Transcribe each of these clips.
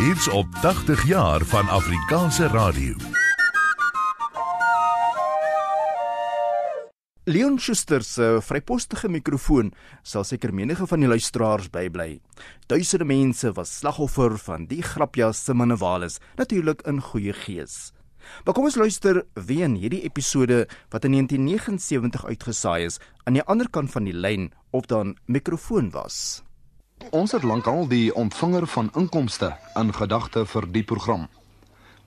Hier's op 80 jaar van Afrikaanse radio. Leon Schuster se vrypostige mikrofoon sal seker menige van die luisteraars bybly. Duisende mense was slagoffer van die grapjas se mannewalis, natuurlik in goeie gees. Maar kom ons luister weer in hierdie episode wat in 1979 uitgesaai is aan die ander kant van die lyn of dan mikrofoon was. Ons het lankal die ontvanger van inkomste in gedagte vir die program.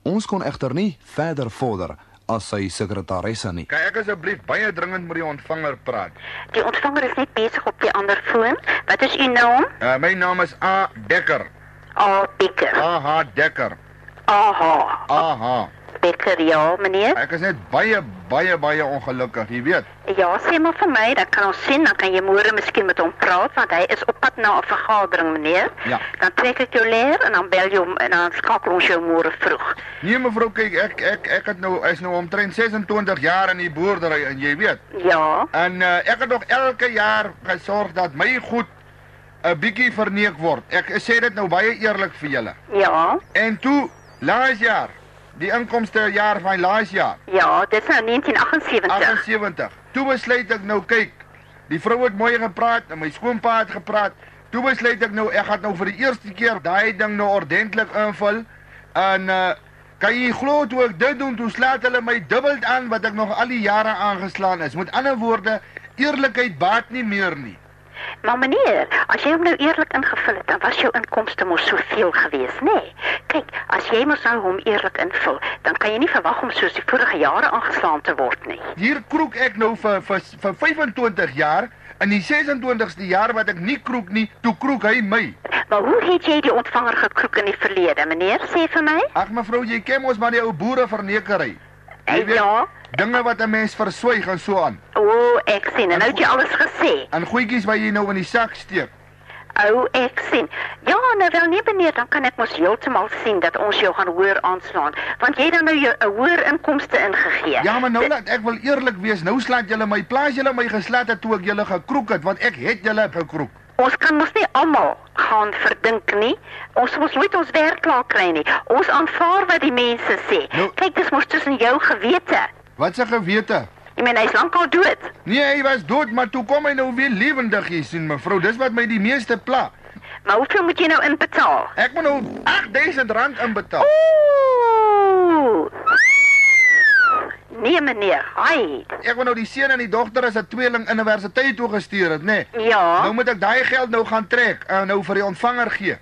Ons kon egter nie verder vorder as sy sekretaresse nie. Kan ek asseblief baie dringend met die ontvanger praat? Die ontvanger is net besig op die ander foon. Wat is u naam? Uh, my naam is A Dekker. Ah, Becker. AH Dekker. Aha, AH. Becker, ja, meneer. Ek is net baie baie baie ongelukkig, jy weet. Ja, sê maar vir my, dan kan ons sien, dan kan jy môre miskien met hom praat want hy is op pad na 'n vergadering, meneer. Ja. Dan trek ek jou leer en dan bel jy hom en dan skakel ons jou môre vroeg. Nee mevrou, kyk ek ek ek het nou is nou omtrent 26 jaar in die boerdery en jy weet. Ja. En uh, ek het nog elke jaar gesorg dat my goed 'n bietjie verneek word. Ek sê dit nou baie eerlik vir julle. Ja. En toe laas jaar, die inkomste jaar van laas jaar Ja, dit is nou 1978. 78. Toe besluit ek nou kyk. Die vrou het mooi gepraat en my skoonpa het gepraat. Toe besluit ek nou ek gaan nou vir die eerste keer daai ding nou ordentlik invul. En uh kan jy glo toe ek dit doen, toe slaat hulle my dubbel aan wat ek nog al die jare aangeslaan is. Met ander woorde, eerlikheid baat nie meer nie. Maar meneer, as jy hom nou eerlik ingevul het, dan was jou inkomste mos soveel geweest, nê? Nee. Kyk, as jy mos nou hom eerlik invul, dan kan jy nie verwag om soos die vorige jare aangeslaan te word nie. Hier kroek ek nou vir vir, vir 25 jaar. In die 26ste jaar wat ek nie kroek nie, toe kroek hy my. Maar hoe het jy die ontvanger gekroek in die verlede, meneer? Sê vir my. Ag mevrou, jy ken mos maar die ou boere vernekery. Jy weet, Ja. dinge wat 'n mens verswyg en so aan. O, oh, ek sien. En nou het jy alles gesê. En goedjies wat jy nou in die sak steek. O, oh, ek sien. Ja, nou wel nee meneer, dan kan ek mos heeltemal sien dat ons jou gaan hoor aanslaan, want jy het dan nou jou 'n hoër inkomste ingegee. Ja, maar nou laat ek wil eerlik wees. Nou slaat julle my plaas julle my geslaat het toe ek julle gekroek het, want ek het julle gekroek. Ons kan mos nie almal gaan verdink nie. Ons mos nooit ons werk klaar kry nie. Ons aanvaar wat die mense sê. Nou- Kyk, dis mos tussen jou gewete. Wat se gewete? Ek meen, hy's lankal dood. Nee, hy was dood, maar toe kom hy nou weer lewendig hier sien mevrou. Dis wat my die meeste pla. Maar hoeveel moet jy nou inbetaal? Ek moet nou R8000 inbetaal. Ooh. Nee meneer, hy. Ek wil nou die seun en die dogter as 'n tweeling universiteit toe gestuur het, nê? Nee. Nou Ja. moet ek daai geld nou gaan trek en nou vir die ontvanger gee.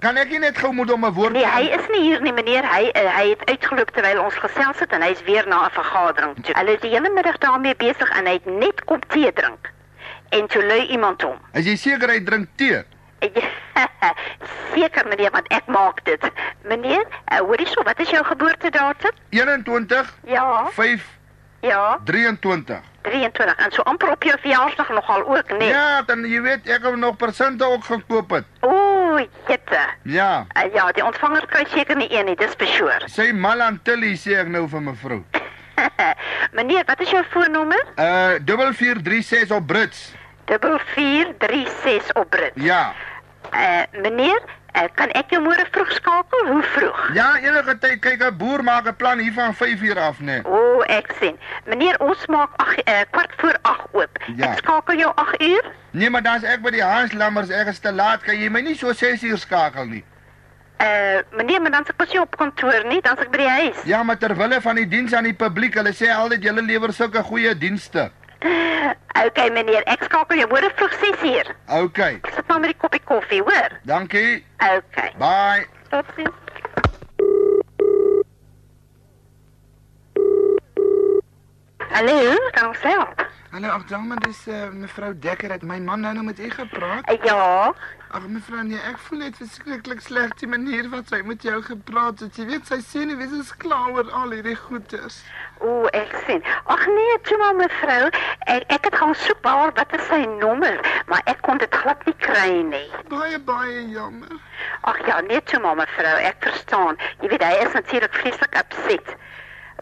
Kan ek nie net gou moet om 'n woord Nee, hy is nie hier nie meneer. Hy eh, hy het uitgeloop terwyl ons gesels het en hy's weer na 'n vergadering toe. Hulle is die hele middag daarmee besig en hy het net kom tee drink. En toe lui iemand hom. As jy seker hy drink tee. Seker Ja, meneer, want ek maak dit. Meneer, uh, hoor hierso, wat is jou geboortedatum? 21 Ja. 5 Ja, 23. 23 en so amper op jou verjaarsdag nogal ook, nee. Ja, dan jy weet ek het nog persente ook gekoop het. Ooh, jette. Ja. Uh, ja, die ontvanger kry seker nie een nie, dis besjoer. Sy mal aan Tilly sê ek nou vir mevrou. Meneer, wat is jou voornommer? Uh 4436 op Brits. 4436 op Brit. Ja. Uh, meneer, uh, kan ek jou môre vroeg skakel? Hoe vroeg? Ja, enige tyd kyk 'n boer maak 'n plan hier van 5 uur af, nee. O, oh, ek sien. Meneer, ons maak 8 uh, kwart voor 8 oop. Ja. Ek skakel jou 8 uur. Nee, maar dan's ek by die Haanslammers, ek is te laat, kan jy my nie so 6 uur skakel nie. Eh, meneer, maar dan se pas jy op kantoor nie, dan se ek by die huis. Ja, maar ter wille van die diens aan die publiek, hulle sê altyd julle lewer sulke goeie dienste. Okay meneer, ek skakel jou môre vroeg 6uur. OK. Ek sit maar met 'n koppie koffie, hoor. Dankie. Okay. Bye. Totsiens. Hallo, dank self. Hallo, ag dame, dis uh, mevrou Dekker het my man nou nou met u gepraat. Ja, Ag mevrou, nee, ek voel dit verskriklik sleg die manier wat sy met jou gepraat het. Jy weet sy sê nie wees is klaar oor al hierdie goeters. o, ek sien. Ag nee, toe maar mevrou, ek, ek het gaan soek waar wat is sy nommer, maar ek kon dit glad nie kry nie. Baie baie jammer. Ag ja, nee toe maar mevrou, ek verstaan. Jy weet hy is natuurlik vreeslik upset.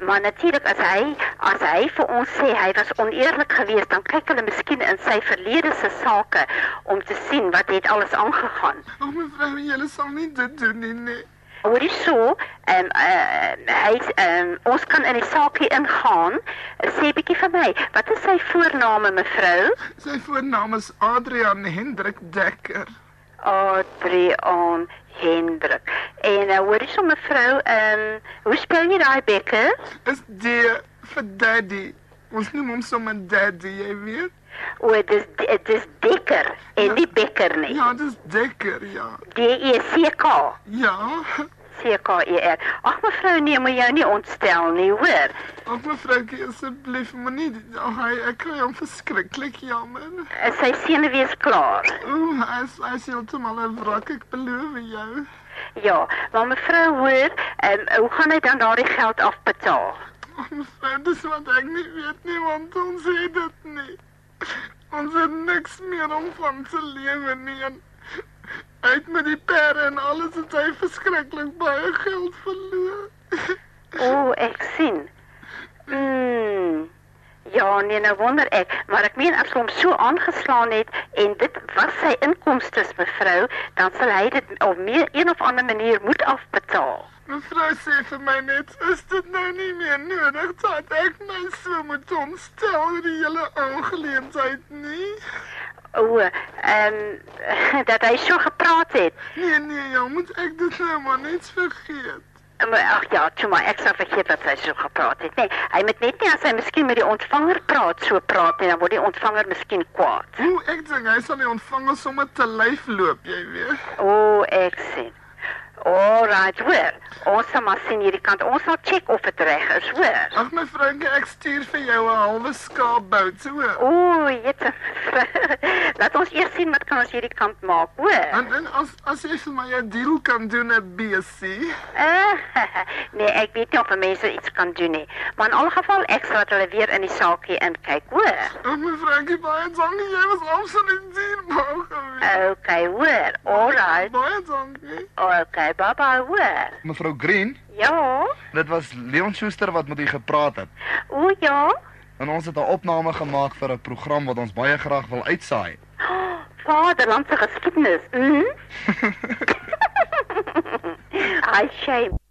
Maar natuurlik as hy As hy vir ons sê hy was oneerlik geweest, dan kyk hulle miskien in sy verlede se sake om te sien wat het alles aangegaan. O mevrou, julle sal nie dit doen nie. nee. Hoorie so, ehm eh, hy ehm ons kan in die saakie ingaan. Sê bietjie vir my, wat is sy voorname mevrou? Sy voornaam is Adrian Hendrik Dekker. Adriaan Hendrik. En uh, hoorie so mevrou, ehm hoe spel jy daai bekker? Is D vir Daddy. Ons noem hom sommer Daddy, jy weet. O, dit is dit is Dekker en nie Bekker nie. Ja, dis Dekker, ja. D E C K. Ja. C K E R. Ag mevrou, nee, moet jou nie ontstel nie, hoor. Ag mevroukie, asseblief moenie ag hy ek kry hom verskriklik jammer. Is sy senuwees klaar? Ooh, as as jy heeltemal 'n wrak ek beloof jou. Ja, maar mevrou hoor, ehm hoe gaan hy dan daardie geld afbetaal? Ag mevrou, dis wat ek nie weet nie want ons het dit nie. Ons het niks meer om van te lewe nie. En uit met die perde en alles het hy verskriklik baie geld verloor. O, ek sien. Mm. Ja, nee, nou wonder ek, maar ek meen as hom so aangeslaan het en dit was sy inkomste, mevrou, dan sal hy dit op meer een of ander manier moet afbetaal. Mevrou sê vir my net, is dit nou nie meer nodig dat ek my so moet ontstel oor die hele aangeleentheid nie? O, ehm dat hy so gepraat het. Nee nee, jy moet ek dit nou maar net vergeet. Maar, Ag ja, toe maar ek sal vergeet dat hy so gepraat het. Nee, hy moet net nie as hy miskien met die ontvanger praat so praat nie, dan word die ontvanger miskien kwaad. Hoe ek dink hy sal nie ontvang sommer te lyf loop, jy weet. O, ek sien. Alright, hoor. Ons sal maar sien hierdie kant. Ons sal check of dit reg is, hoor. Ag my vriendjie, ek stuur vir jou 'n halwe skaapbout, so. O, jette. Laat ons eers sien wat kan ons hierdie kant maak, hoor. En dan as as jy vir my 'n deal kan doen 'n BC. Eh, nee, ek weet nie of mense iets kan doen nie. Maar in alle geval, ek sal dat hulle weer in die saakie inkyk, hoor. Ag my vriendjie, baie dankie, jy was absoluut dierbaar gewees. Okay, hoor. Eh, Alright. Baie dankie. Okay, baba, hoor. Mevrou Green, Ja. dit was Leon Schuster wat met u gepraat het. O ja. En ons het 'n opname gemaak vir 'n program wat ons baie graag wil uitsaai. Vaderlandse geskiedenis. Mhm. Mm-hmm. I shame.